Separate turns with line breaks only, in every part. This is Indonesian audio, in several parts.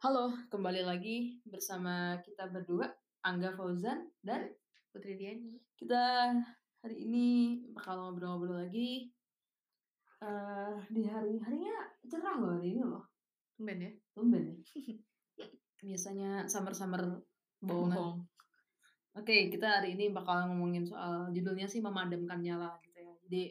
kembali lagi bersama kita berdua, Angga Fauzan dan
Putri Diani.
kita hari ini bakal ngobrol-ngobrol lagi eh di hari harinya cerah loh hari ini loh,
Tumben ya?
tumben nih. Biasanya summer-summer bohongan. Oke, kita hari ini bakal ngomongin soal judulnya sih memadamkan nyala gitu ya. Jadi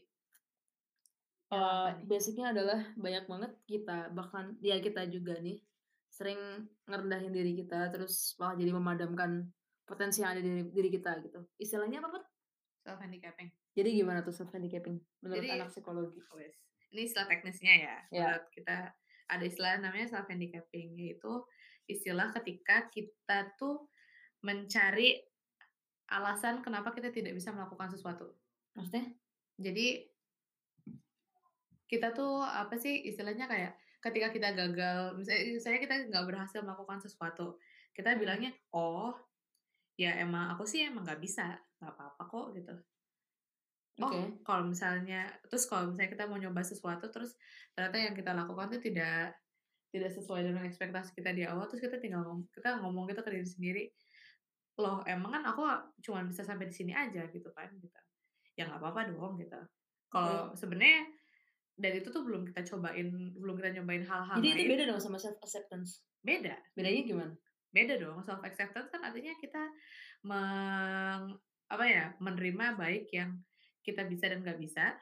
Nyala apa
eh, basicnya adalah banyak banget kita bahkan ya kita juga nih sering ngerendahin diri kita terus malah jadi memadamkan potensi yang ada di diri, diri kita gitu. Istilahnya apa, Put?
Self handicapping.
Jadi gimana tuh self handicapping menurut
Jadi-
anak psikologi?
Wes. Ini istilah teknisnya ya.
Ya.
Menurut kita ada istilah namanya self handicapping yaitu istilah ketika kita tuh mencari alasan kenapa kita tidak bisa melakukan sesuatu.
Maksudnya?
Jadi kita tuh apa sih istilahnya kayak ketika kita gagal, misalnya, misalnya kita nggak berhasil melakukan sesuatu, kita bilangnya oh ya emang aku sih emang nggak bisa, nggak apa-apa kok gitu. Oh,
Oke.
kalau misalnya terus kalau misalnya kita mau nyoba sesuatu terus ternyata yang kita lakukan itu tidak tidak sesuai dengan ekspektasi kita di awal terus kita tinggal ngom- kita ngomong gitu ke diri sendiri loh emang kan aku cuma bisa sampai di sini aja gitu kan gitu ya nggak apa-apa dong gitu kalau sebenarnya dari itu tuh belum kita cobain belum kita nyobain hal-hal
Jadi itu
lain.
beda dong sama self acceptance.
beda
Bedanya gimana?
beda dong self acceptance kan artinya kita meng apa ya menerima baik yang kita bisa dan nggak bisa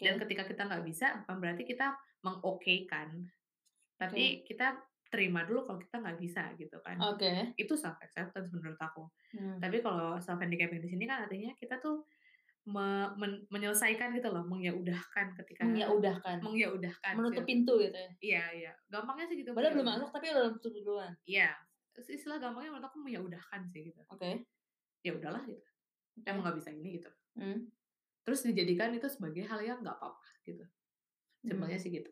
dan
Oke.
ketika kita nggak bisa bukan berarti kita mengokeikan tapi kita terima dulu kalau kita nggak bisa gitu kan
Oke.
itu self acceptance menurut aku
Hmm.
tapi kalau self handicapping di sini kan artinya kita tuh me- men- menyelesaikan gitu loh mengyaudahkan ketika
Menyaudahkan.
mengyaudahkan
Menutup
sih.
pintu gitu ya.
iya iya gampangnya sih gitu
Padahal belum
menyaudahkan.
masuk tapi udah tutup duluan.
iya istilah gampangnya menurut aku menyaudahkan sih gitu
Oke.
ya udahlah gitu
Iya.
emang nggak bisa ini gitu
Hmm.
terus dijadikan itu sebagai hal yang nggak apa-apa gitu simpelnya sih gitu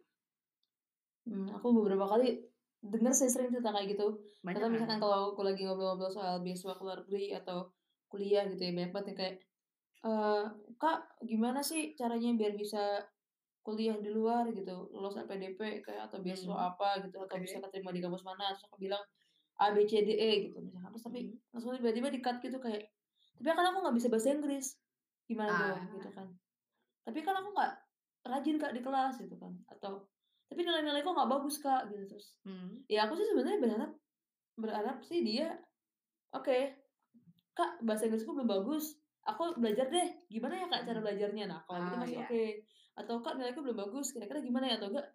Hmm, aku beberapa kali dengar sih sering cerita kayak gitu.
banyak
Atau
kan?
misalkan kalau aku lagi ngobrol-ngobrol soal beasiswa ke luar negeri atau kuliah gitu ya, banyak banget yang kayak, "Eh, Kak, gimana sih caranya biar bisa kuliah di luar gitu, lolos LPDP kayak atau beasiswa
Hmm.
apa gitu, atau
Oke.
bisa keterima di kampus mana?" Terus aku bilang A B C D E gitu misalkan. Terus tapi
Mhm.
langsung tiba-tiba di cut gitu kayak, "Tapi kan aku nggak bisa bahasa Inggris." Gimana dong
Ah.
gitu kan. Tapi kan aku nggak rajin Kak di kelas gitu kan. Atau tapi nilai-nilai kok nggak bagus kak gitu terus
Hmm.
ya aku sih sebenarnya berharap berharap sih dia oke kak bahasa Inggrisku belum bagus aku belajar deh gimana ya kak cara belajarnya nah kalau gitu
Oh,
masih
iya.
oke atau kak nilaiku belum bagus kira-kira gimana ya atau enggak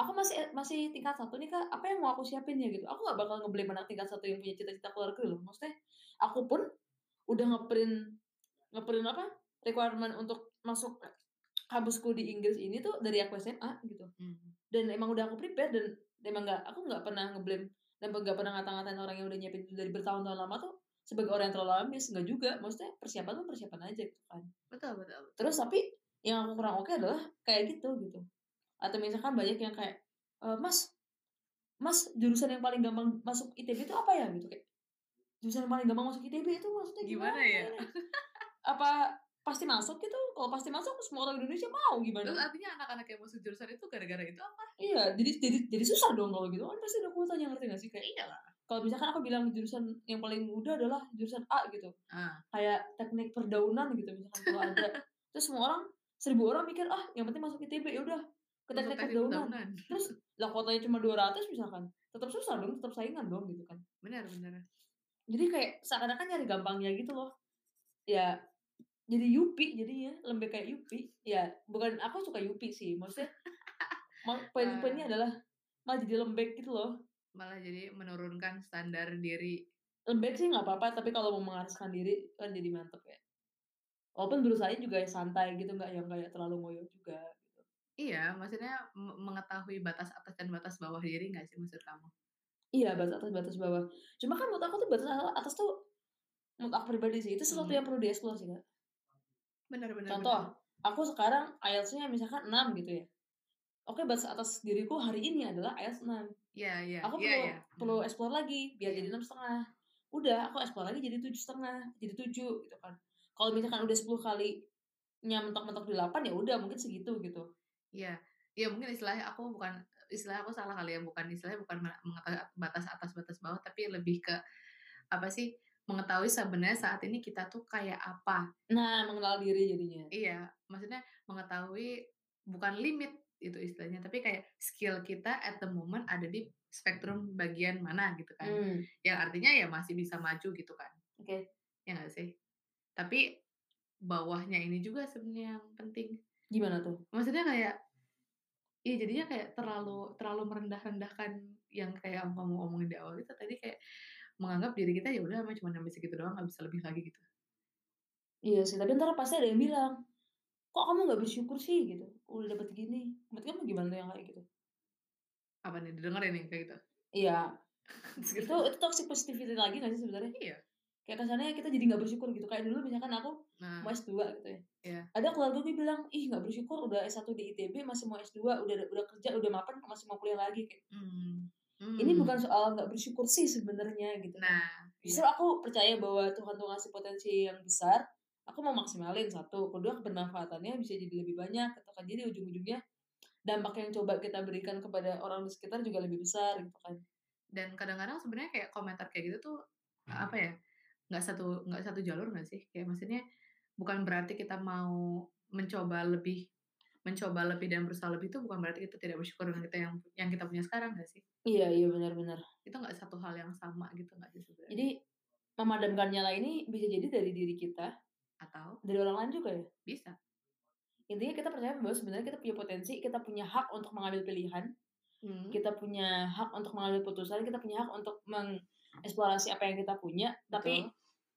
aku masih eh, masih tingkat satu nih kak apa yang mau aku siapin ya gitu aku nggak bakal ngebeli anak tingkat satu yang punya cita-cita keluar negeri loh maksudnya aku pun udah ngeprint ngeprint apa requirement untuk masuk eh, kampusku di Inggris ini tuh dari aku SMA gitu
Hmm.
dan emang udah aku prepare dan emang nggak aku nggak pernah ngeblame dan nggak pernah ngata-ngatain orang yang udah nyiapin itu dari bertahun-tahun lama tuh sebagai orang yang terlalu ambis nggak juga maksudnya persiapan tuh persiapan aja gitu kan
betul betul betul.
terus tapi yang aku kurang oke adalah kayak gitu gitu atau misalkan banyak yang kayak e, mas mas jurusan yang paling gampang masuk ITB itu apa ya gitu kayak jurusan yang paling gampang masuk ITB itu maksudnya gimana,
Gimana ya?
apa pasti masuk gitu kalau pasti masuk semua orang Indonesia mau gimana
Terus artinya anak-anak yang masuk jurusan itu gara-gara itu apa?
Iya, jadi jadi jadi susah dong kalau gitu. Kan pasti ada kuotanya ngerti gak sih kayak
Iya lah.
kalau misalkan aku bilang jurusan yang paling mudah adalah jurusan A gitu.
Ah.
Kayak teknik perdaunan gitu misalkan kalau ada. Terus semua orang seribu orang mikir ah yang penting masuk ITB ya udah ke
masuk
teknik perdaunan.
tahunan.
Terus lah kuotanya cuma 200 misalkan. Tetap susah dong, tetap saingan dong gitu kan.
Benar benar.
Jadi kayak seakan-akan nyari gampangnya gitu loh. Ya jadi Yupi jadinya, lembek kayak Yupi. Ya, bukan aku suka Yupi sih. Maksudnya ma- poin-poinnya adalah malah jadi lembek gitu loh.
Malah jadi menurunkan standar diri.
lembek sih nggak apa-apa tapi kalau mau mengaraskan diri kan jadi mantep ya walaupun berusahanya juga ya santai gitu nggak yang kayak terlalu ngoyo juga gitu.
Iya, maksudnya m- mengetahui batas atas dan batas bawah diri nggak sih maksud kamu?
iya batas atas batas bawah cuma kan menurut aku tuh batas atas tuh menurut aku pribadi sih itu sesuatu
Hmm.
yang perlu dieksplor sih Kak.
Benar benar.
contoh aku sekarang IELTS-nya misalkan 6 gitu ya oke batas atas diriku hari ini adalah IELTS 6
Iya iya.
aku
iya,
perlu
iya.
perlu explore lagi biar
Iya.
jadi enam setengah udah aku explore lagi jadi tujuh setengah jadi tujuh gitu kan kalau misalkan udah 10 kali mentok-mentok di 8 ya udah mungkin segitu gitu
Iya, ya mungkin istilahnya aku bukan istilah aku salah kali ya bukan istilahnya bukan mena- mengetahui batas atas batas bawah tapi lebih ke apa sih mengetahui sebenarnya saat ini kita tuh kayak apa
Nah, mengenal diri jadinya.
iya maksudnya mengetahui bukan limit itu istilahnya tapi kayak skill kita at the moment ada di spektrum bagian mana gitu kan
Hmm.
yang artinya ya masih bisa maju gitu kan
Oke.
ya nggak sih tapi bawahnya ini juga sebenarnya yang penting
Gimana tuh?
maksudnya kayak iya jadinya kayak terlalu terlalu merendah-rendahkan yang kayak yang kamu omongin di awal itu tadi kayak menganggap diri kita ya udah emang cuma sampai segitu doang nggak bisa lebih lagi gitu
Iya sih, tapi ntar pasti ada yang bilang, kok kamu nggak bersyukur sih gitu, udah dapet gini. Menurut kamu gimana tuh yang kayak gitu?
apa nih didengerin nih kayak gitu
Iya,
Terus
itu
gitu.
itu toxic positivity lagi nggak sih sebenarnya?
Iya.
Kayak kesannya kita jadi nggak bersyukur gitu. Kayak dulu misalkan aku
nah
mau S2 gitu ya.
Iya.
Ada keluarga gue bilang, ih nggak bersyukur udah S1 di ITB masih mau S2, udah udah kerja, udah mapan, masih mau kuliah lagi. Kayak,
hmm,
Ini
hmm.
bukan soal nggak bersyukur sih sebenarnya gitu.
nah
Justru aku percaya bahwa Tuhan tuh ngasih potensi yang besar. Aku mau maksimalin satu, kedua kebermanfaatannya bisa jadi lebih banyak. Gitu kan. Jadi ujung-ujungnya dampak yang coba kita berikan kepada orang di sekitar juga lebih besar gitu kan.
dan kadang-kadang sebenarnya kayak komentar kayak gitu tuh apa ya nggak satu nggak satu jalur nggak sih kayak maksudnya bukan berarti kita mau mencoba lebih mencoba lebih dan berusaha lebih itu bukan berarti kita tidak bersyukur dengan kita yang yang kita punya sekarang nggak sih
Iya, iya benar-benar.
itu nggak satu hal yang sama gitu nggak sih sebenarnya
Jadi memadamkan nyala ini bisa jadi dari diri kita,
atau
dari orang lain juga ya.
bisa
Intinya kita percaya bahwa sebenarnya kita punya potensi, kita punya hak untuk mengambil pilihan,
Gitu.
kita punya hak untuk mengambil putusan, kita punya hak untuk mengeksplorasi apa yang kita punya. Tapi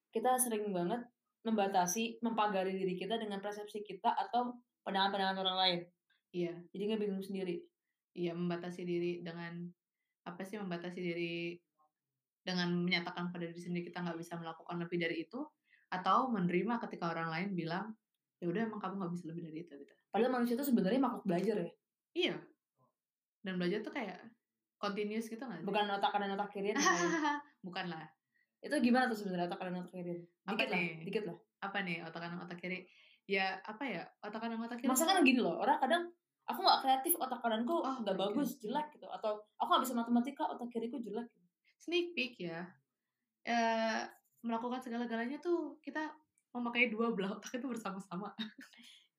kita sering banget membatasi, mempagari diri kita dengan persepsi kita atau pandangan-pandangan orang lain.
iya
Jadi nggak bingung sendiri.
iya membatasi diri dengan apa sih membatasi diri dengan menyatakan pada diri sendiri kita nggak bisa melakukan lebih dari itu atau menerima ketika orang lain bilang ya udah emang kamu nggak bisa lebih dari itu gitu
Padahal manusia itu sebenarnya makhluk belajar ya.
iya dan belajar tuh kayak continuous gitu nggak sih?
Bukan otak kanan otak kiri. yang lain.
bukan lah
itu gimana tuh sebenarnya otak kanan otak kiri?
Apa
Dikit lah,
nih?
dikit lah.
apa nih otak kanan otak kiri ya apa ya otak kanan otak kiri
Masa
tuh-
kan gini loh, orang kadang aku nggak kreatif otak kananku
Oh
nggak
my God.
bagus jelek gitu atau aku nggak bisa matematika otak kiriku jelek gitu.
sneak peek ya eh melakukan segala-galanya tuh kita memakai dua belah otak itu bersama-sama.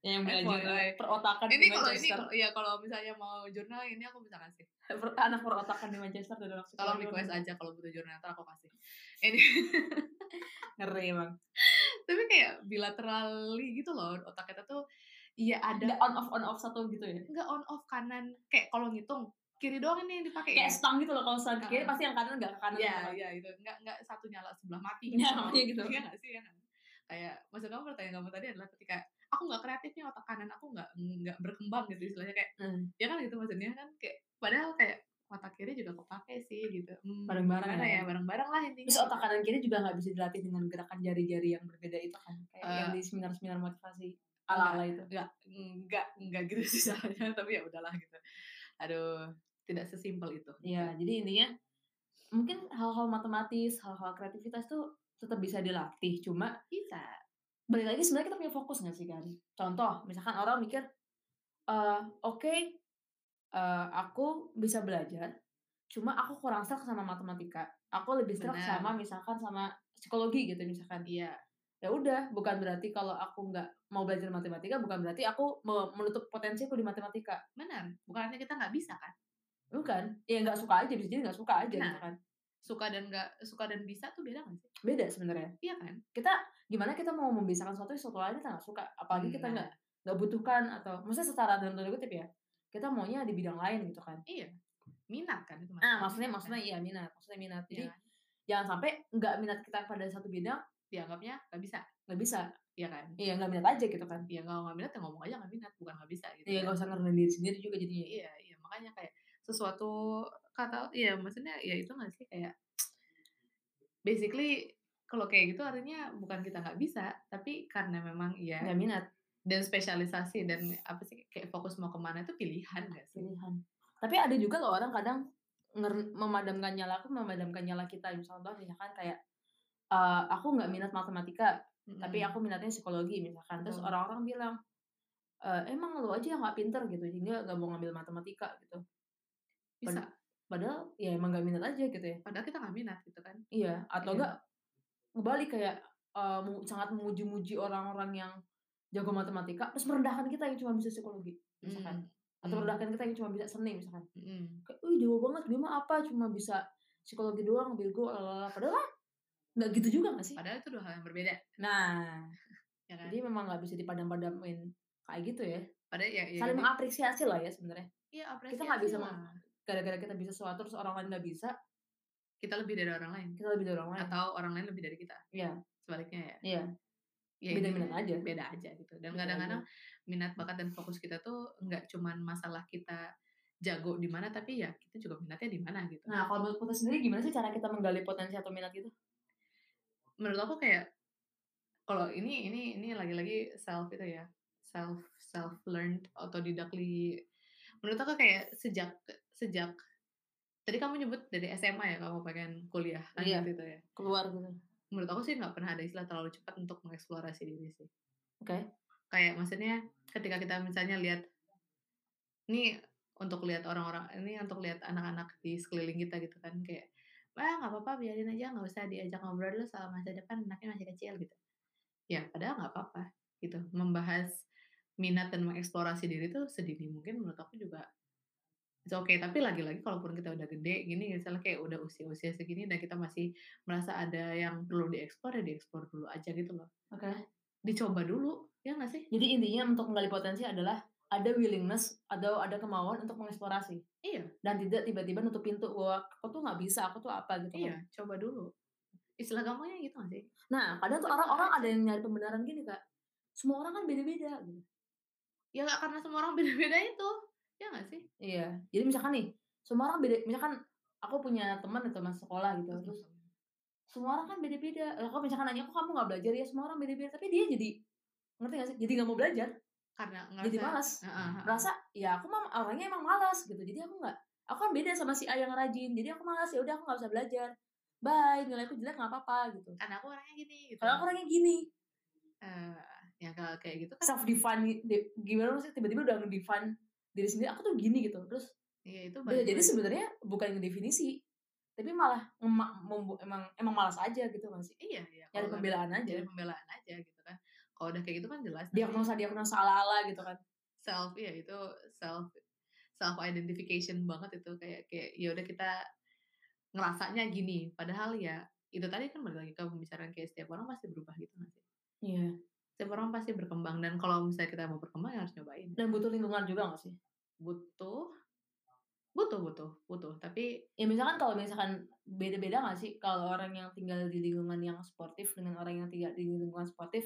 yang
FYI.
belajar perotakan
ini
di
kalau ini
Manchester
kalau- ya kalau misalnya mau jurnal ini aku bisa kasih.
Per- anak perotakan di Manchester dan orang
Tolong
Chicago.
request aja kalau butuh jurnal ntar aku kasih. Ini
ngeri emang
tapi kayak bilaterali gitu loh otak kita tuh iya
ada
ada
on off on off satu gitu ya
nggak on off kanan kayak kalau ngitung kiri doang ini yang dipakai
kayak
ya.
stang gitu loh kalau stang kiri
Ah.
pasti yang kanan nggak ke kanan
Iya,
sama.
iya gitu. Enggak enggak satu nyala sebelah mati.
Iya, makanya gitu.
Iya enggak sih, ya kan? Kayak maksud kamu pertanyaan kamu tadi adalah ketika aku nggak kreatifnya otak kanan aku nggak nggak berkembang gitu istilahnya kayak
Hmm.
ya kan gitu maksudnya kan kayak padahal kayak otak kiri juga kepake sih gitu Hmm,
Bareng-bareng
gimana
ya.
ya bareng-bareng lah intinya
terus otak kanan kiri juga nggak bisa dilatih dengan gerakan jari-jari yang berbeda itu kan kayak
Eh. Iya.
yang di seminar-seminar motivasi ala-ala itu
nggak nggak nggak gitu sih caranya tapi ya udahlah gitu aduh tidak sesimpel itu
ya jadi intinya mungkin hal-hal matematis hal-hal kreativitas tuh tetap bisa dilatih cuma
bisa
balik lagi sebenarnya kita punya fokus nggak sih kan contoh misalkan orang mikir eh oke eh, aku bisa belajar cuma aku kurang serak sama matematika aku lebih serak
Benar.
sama misalkan sama psikologi gitu misalkan
iya
ya udah bukan berarti kalau aku nggak mau belajar matematika bukan berarti aku me- menutup potensiku di matematika
benar bukannya kita nggak bisa kan
bukan ya nggak suka aja bisa jadi nggak suka aja gitu
Nah.
kan
suka dan nggak suka dan bisa tuh beda kan sih
beda sebenarnya
iya kan
kita gimana kita mau membiasakan sesuatu sesuatu lain kita nggak suka apalagi kita
Nah.
nggak nggak butuhkan atau maksudnya secara dalam tanda kutip ya kita maunya di bidang lain gitu kan
iya minat kan Iya. itu
nah maksudnya maksudnya iya minat maksudnya minat
jadi
jadi jangan sampai nggak minat kita pada satu bidang
dianggapnya nggak bisa
nggak bisa
iya kan
iya nggak minat aja gitu kan
ya kalau nggak minat ya ngomong aja nggak minat bukan nggak bisa gitu
iya
kan.
nggak usah ngerendahin diri sendiri juga jadinya
iya iya makanya kayak sesuatu kata ya maksudnya ya itu nggak sih kayak basically kalau kayak gitu artinya bukan kita nggak bisa tapi karena memang ya
Iya, nggak minat
dan spesialisasi dan apa sih kayak fokus mau kemana itu pilihan nggak sih
pilihan. Tapi ada juga loh orang kadang nger- memadamkan nyala aku memadamkan nyala kita misalnya misalkan kayak eh, aku nggak minat matematika tapi
Mm.
aku minatnya psikologi misalkan terus
Betul.
orang-orang bilang "Eh, emang lu aja yang nggak pinter gitu jadi nggak nggak mau ngambil matematika gitu
bisa
padahal ya emang gak minat aja gitu ya
padahal kita nggak minat gitu kan
Iya, atau
Iya.
enggak kebalik kayak eh, mu- sangat memuji-muji orang-orang yang jago matematika terus merendahkan kita yang cuma bisa psikologi misalkan atau
Hmm.
merendahkan kita yang cuma bisa seni misalkan
Mm.
kayak wih dewa banget dia mah apa cuma bisa psikologi doang bego lalala padahal lah, nggak gitu juga nggak sih
padahal itu dua hal yang berbeda
nah
ya kan
jadi memang nggak bisa dipadam-padamin kayak gitu ya
padahal ya, ya
saling
jadi-
mengapresiasi lah ya sebenarnya
iya,
kita nggak bisa
apresiasi
meng-
lah.
gara-gara kita bisa sesuatu terus orang lain nggak bisa
kita lebih dari orang lain
kita lebih dari orang lain
atau orang lain lebih dari kita
Iya.
sebaliknya ya
Iya.
ya
Beda
ini
minat aja.
beda aja gitu dan
Beda
kadang-kadang minat bakat dan fokus kita tuh nggak cuman masalah kita jago di mana tapi ya kita juga minatnya di mana gitu
nah kalau menurut Putri sendiri gimana sih cara kita menggali potensi atau minat gitu
menurut aku kayak kalau ini ini ini lagi-lagi self itu ya self self learned autodidakli menurut aku kayak sejak sejak tadi kamu nyebut dari SMA ya kamu pengen kuliah
Iya.
lanjut itu ya
keluar gitu
menurut aku sih nggak pernah ada istilah terlalu cepat untuk mengeksplorasi diri sih
Oke.
kayak maksudnya ketika kita misalnya lihat ini untuk lihat orang-orang ini untuk lihat anak-anak di sekeliling kita gitu kan kayak wah nggak apa-apa biarin aja nggak usah diajak ngobrol lu soal masa depan anaknya masih kecil gitu ya padahal nggak apa-apa gitu membahas minat dan mengeksplorasi diri tuh sedini mungkin menurut aku juga it's okay tapi lagi-lagi kalaupun kita udah gede gini misalnya kayak udah usia-usia segini dan kita masih merasa ada yang perlu dieksplor ya dieksplor dulu aja gitu loh
oke
dicoba dulu ya nggak sih
Jadi intinya untuk menggali potensi adalah ada willingness atau ada kemauan untuk mengeksplorasi
iya
dan tidak tiba-tiba nutup pintu bahwa aku tuh nggak bisa, aku tuh apa gitu. kan.
Iya, coba dulu. Istilah gampangnya gitu gak sih?
Nah, kadang tuh
Coba
orang-orang
aja.
ada yang nyari pembenaran gini kak. Semua orang kan beda-beda. Gitu.
Ya gak karena semua orang beda-beda itu. Ya gak sih?
Iya. Jadi misalkan nih, semua orang beda. Misalkan aku punya teman itu mas sekolah gitu, terus semua orang kan beda-beda. Lah, Kalau misalkan nanya kok kamu nggak belajar ya semua orang beda-beda, tapi dia jadi ngerti gak sih? Jadi nggak mau belajar,
karena
jadi
ngerasa...
malas.
Heeh, heeh.
merasa ya aku mah orangnya emang malas gitu jadi aku nggak aku kan beda sama si A yang rajin jadi aku malas ya udah aku nggak bisa belajar bye nilaiku jelek nggak apa-apa gitu
Karena aku orangnya gini gitu.
kalau aku orangnya gini
Eh, ya kalau kayak gitu kan.
self define gimana sih tiba-tiba udah define diri sendiri aku tuh gini gitu terus
Ya itu
udah,
balik
jadi
lagi.
sebenarnya bukan ngedefinisi tapi malah ngema- membu- emang emang malas aja gitu masih
Iya, iya.
nyari
kalau nggak-
pembelaan aja
Nyari pembelaan aja gitu kan. Kalau udah kayak gitu kan jelas. namanya
diagnosa diagnosa ala ala gitu kan
self ya itu self self identification banget itu kayak kayak ya udah kita ngerasanya gini padahal ya itu tadi kan balik lagi ke pembicaraan kayak setiap orang pasti berubah gitu nggak sih?
iya
setiap orang pasti berkembang dan kalau misalnya kita mau berkembang ya harus nyobain
dan butuh lingkungan juga nggak sih
butuh butuh butuh butuh tapi
ya misalkan kalau misalkan beda-beda nggak sih kalau orang yang tinggal di lingkungan yang sportif dengan orang yang tidak di lingkungan sportif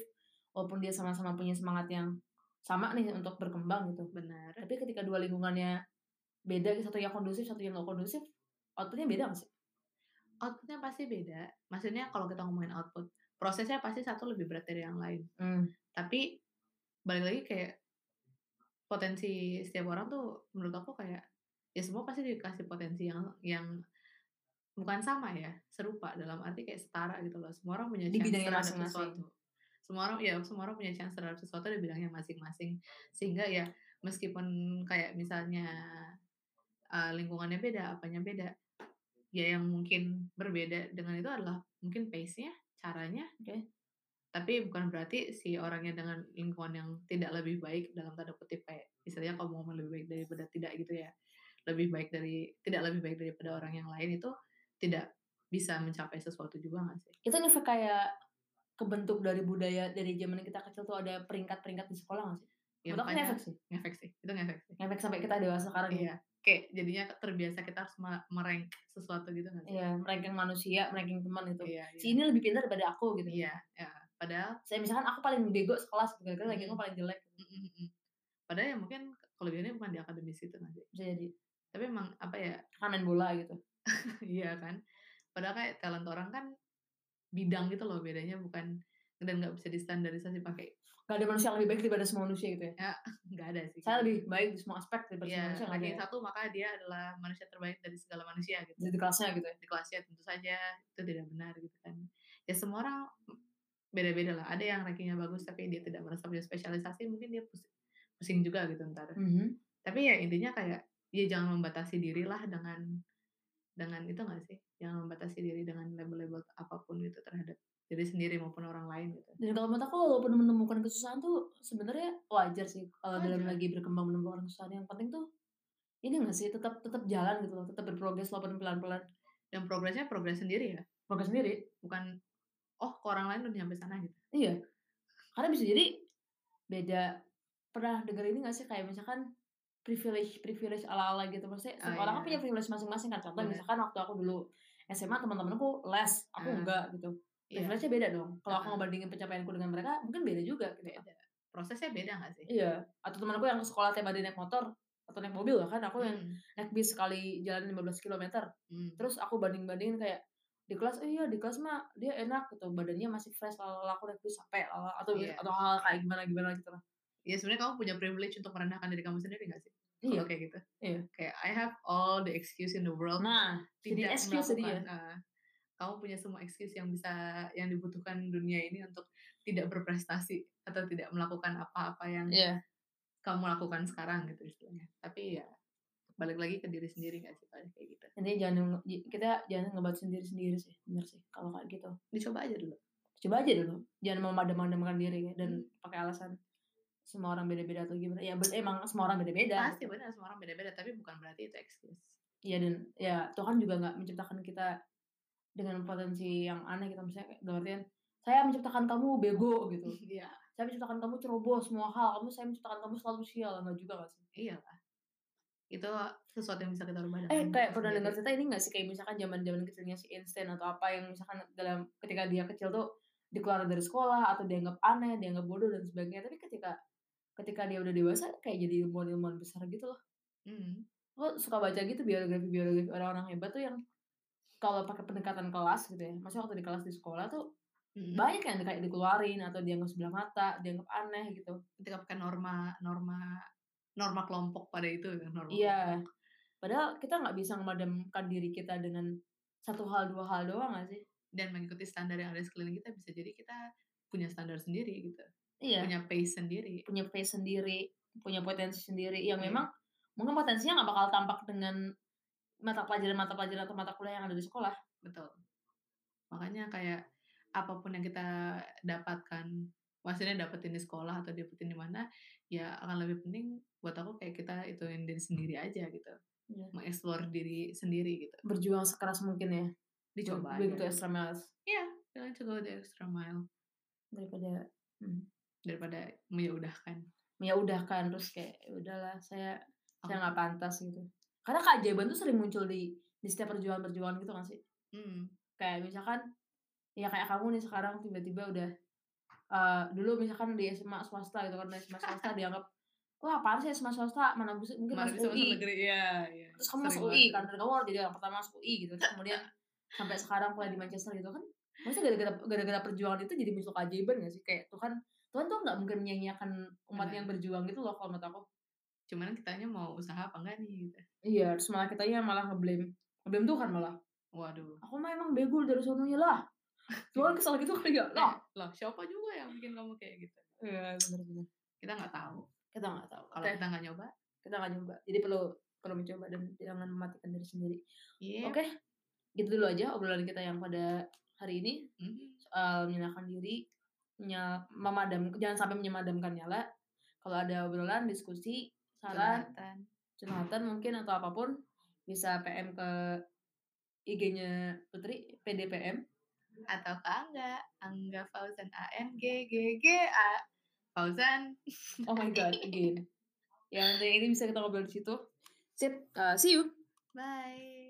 walaupun dia sama-sama punya semangat yang sama nih untuk berkembang gitu
benar
tapi ketika dua lingkungannya beda gitu, satu yang kondusif satu yang nggak kondusif outputnya beda nggak sih
outputnya pasti beda maksudnya kalau kita ngomongin output prosesnya pasti satu lebih berat dari yang lain tapi balik lagi kayak potensi setiap orang tuh menurut aku kayak ya semua pasti dikasih potensi yang yang bukan sama ya serupa dalam arti kayak setara gitu loh semua orang punya
Di
chance
bidangnya
terhadap
masing-masing.
sesuatu semua orang ya semua orang punya chance terhadap sesuatu di bidangnya masing-masing sehingga ya meskipun kayak misalnya uh, lingkungannya beda apanya beda ya yang mungkin berbeda dengan itu adalah mungkin pace-nya caranya
Oke.
tapi bukan berarti si orangnya dengan lingkungan yang tidak lebih baik dalam tanda kutip kayak misalnya kalau mau ngomong lebih baik daripada tidak gitu ya lebih baik dari tidak lebih baik daripada orang yang lain itu tidak bisa mencapai sesuatu juga nggak sih
itu nih kayak kebentuk dari budaya dari zaman kita kecil tuh ada peringkat-peringkat di sekolah nggak sih?
ya
Menurut aku
makanya
ngefek sih,
ngefek sih itu ngefek sih
ngefek sampai kita dewasa sekarang ya.
iya kayak jadinya terbiasa kita harus ma- merank sesuatu gitu nggak sih
Iya, ranking manusia, ranking teman itu.
iya
Si ini lebih pintar daripada aku gitu.
iya, iya. padahal
saya misalkan aku paling bego sekolah gara-gara lagi aku
Mm.
paling jelek gitu.
mm, mm, mm. padahal ya mungkin kelebihannya bukan di akademis itu nggak sih
bisa jadi
tapi emang apa ya
kan main bola gitu
Iya kan. Padahal kayak talent orang kan bidang gitu loh bedanya bukan dan nggak bisa distandarisasi pakai
gak ada manusia yang lebih baik daripada semua manusia gitu ya
nggak ada sih. gitu.
saya lebih baik di semua aspek daripada semua
Iya,
manusia nggak ada
ranking
ya.
satu maka dia adalah manusia terbaik dari segala manusia gitu.
jadi kelasnya gitu ya
Di kelasnya tentu saja itu tidak benar gitu kan. Ya semua orang beda-beda lah. Ada yang rankingnya bagus tapi dia
Mhm.
tidak merasa punya spesialisasi mungkin dia pusing, pusing juga gitu ntar. Tapi ya intinya kayak ya jangan membatasi diri lah dengan dengan itu nggak sih jangan membatasi diri dengan label-label apapun gitu terhadap diri sendiri maupun orang lain gitu
Dan kalau menurut aku walaupun menemukan kesusahan tuh sebenarnya wajar sih kalau dalam
Wajar.
lagi berkembang menemukan kesusahan yang penting tuh ini nggak sih tetap tetap jalan gitu loh, tetap berprogres walaupun pelan-pelan.
dan progresnya progres sendiri ya
Progres sendiri.
bukan oh ke orang lain udah nyampe sana gitu
Iya. Karena bisa jadi beda pernah dengar ini gak sih kayak misalkan privilege privilege ala ala gitu maksudnya
Oh,
setiap orang kan
iya.
punya privilege masing-masing kan contoh
Bener.
misalkan waktu aku dulu SMA teman-temanku les aku
Ah.
enggak gitu
Iya.
privilege-nya beda dong kalau aku
Ah.
ngebandingin pencapaianku dengan mereka mungkin beda juga gitu kan.
Beda. prosesnya beda nggak sih
iya atau temanku yang ke sekolah tiap hari naik motor atau naik mobil bahkan aku yang
Hmm,
naik bis sekali jalan 15 km
hmm.
terus aku banding bandingin kayak di kelas eh iya di kelas mah dia enak gitu badannya masih fresh lala aku naik bis sampai lala atau
Iya.
atau hal kayak gimana gimana gitu lah
ya sebenarnya kamu punya privilege untuk merendahkan diri kamu sendiri nggak sih
iya
Kalau kayak gitu
Iya.
kayak I have all the excuse in the world
nah jadi
tidak
excuse tadi ya?
melakukan, ah, kamu punya semua excuse yang bisa yang dibutuhkan dunia ini untuk tidak berprestasi atau tidak melakukan apa-apa yang
iya
kamu lakukan sekarang gitu istilahnya tapi ya balik lagi ke diri sendiri nggak sih kalau kayak gitu
nanti jangan nge- kita jangan ngebatin diri sendiri sih bener sih kalau kayak gitu
dicoba aja dulu
coba aja dulu jangan memadam-madamkan diri ya, dan
Hmm.
pakai alasan semua orang beda-beda atau gimana ya ben- emang semua orang beda-beda
pasti benar semua orang beda-beda tapi bukan berarti itu excuse
Iya dan ya Tuhan juga nggak menciptakan kita dengan potensi yang aneh gitu misalnya kayak dalam artian saya menciptakan kamu bego gitu
iya
saya menciptakan kamu ceroboh semua hal kamu saya menciptakan kamu selalu sial nggak juga nggak sih
iyalah Iya itu sesuatu yang bisa kita
eh
rubah
kayak
dengan diri
pernah dengar
sendiri.
cerita ini nggak sih kayak misalkan zaman zaman kecilnya si instan atau apa yang misalkan dalam ketika dia kecil tuh dikeluarin dari sekolah atau dianggap aneh dianggap bodoh dan sebagainya tapi ketika ketika dia udah dewasa kayak jadi ilmuwan ilmuwan besar gitu loh
Hmm.
lo suka baca gitu biografi biografi orang-orang hebat tuh yang kalau pakai pendekatan kelas gitu ya maksudnya waktu di kelas di sekolah tuh
Mm-mm.
banyak yang kayak dikeluarin atau dianggap sebelah mata dianggap aneh gitu
ketika pakai norma norma norma kelompok pada itu kan norma
Iya. Padahal kita nggak bisa memadamkan diri kita dengan satu hal dua hal doang gak sih?
dan mengikuti standar yang ada di sekeliling kita bisa jadi kita punya standar sendiri gitu
Iya.
punya pace sendiri
Punya pace sendiri, punya potensi sendiri yang
Iya.
memang mungkin potensinya nggak bakal tampak dengan mata pelajaran mata pelajaran atau mata kuliah yang ada di sekolah.
betul makanya kayak apapun yang kita dapatkan maksudnya dapetin di sekolah atau dapetin di mana ya akan lebih penting buat aku kayak kita ituin diri sendiri aja gitu
Iya.
mengeksplor diri sendiri gitu
Berjuang sekeras mungkin ya.
dicoba
Begitu ya.
aja
extra miles
jangan Ya, coba the extra mile
daripada hmm,
daripada meyaudahkan
ya udah kan terus kayak "Ya udahlah saya saya
Aku-
nggak pantas gitu. Karena keajaiban tuh sering muncul di di setiap perjuangan-perjuangan gitu kan sih?
Hmm.
kayak misalkan ya kayak kamu nih sekarang tiba-tiba udah eh dulu misalkan di SMA swasta gitu kan di SMA swasta dianggap wah apaan sih SMA swasta mana bisa mungkin
Mana bisa
masuk UI
negeri ya, ya.
terus kamu masuk UI kan dan kamu harus jadi orang pertama masuk UI gitu terus kemudian sampai sekarang kuliah di Manchester gitu kan maksudnya gara-gara gara-gara perjuangan itu jadi muncul keajaiban gak sih kayak Tuhan Tuhan tuh nggak mungkin menyia-nyiakan umat
Benar.
yang berjuang gitu loh kalau menurut aku
cuman kitanya mau usaha apa enggak nih gitu.
iya terus malah kitanya malah ngeblame ngeblame Tuhan malah
waduh
aku mah emang bego dari sononya lah Tuhan kesel gitu kali ya lah
loh siapa juga yang bikin kamu kayak gitu
iya bener-bener
kita nggak tahu
kita nggak tahu
kalau
kalau
kita nggak nyoba
kita nggak nyoba jadi perlu perlu mencoba dan jangan mematikan diri sendiri
iya
oke gitu dulu aja obrolan kita yang pada hari ini
Mhm,
soal menyenangkan diri menyal- memadam jangan sampai menyemadamkan nyala kalau ada obrolan diskusi saran curhatan mungkin atau apapun bisa PM ke IG-nya Putri PDPM
atau ke Angga Angga Fauzan A N G G G A Fauzan
oh my god again ya nanti ini bisa kita ngobrol di situ sip uh, eh, see you
bye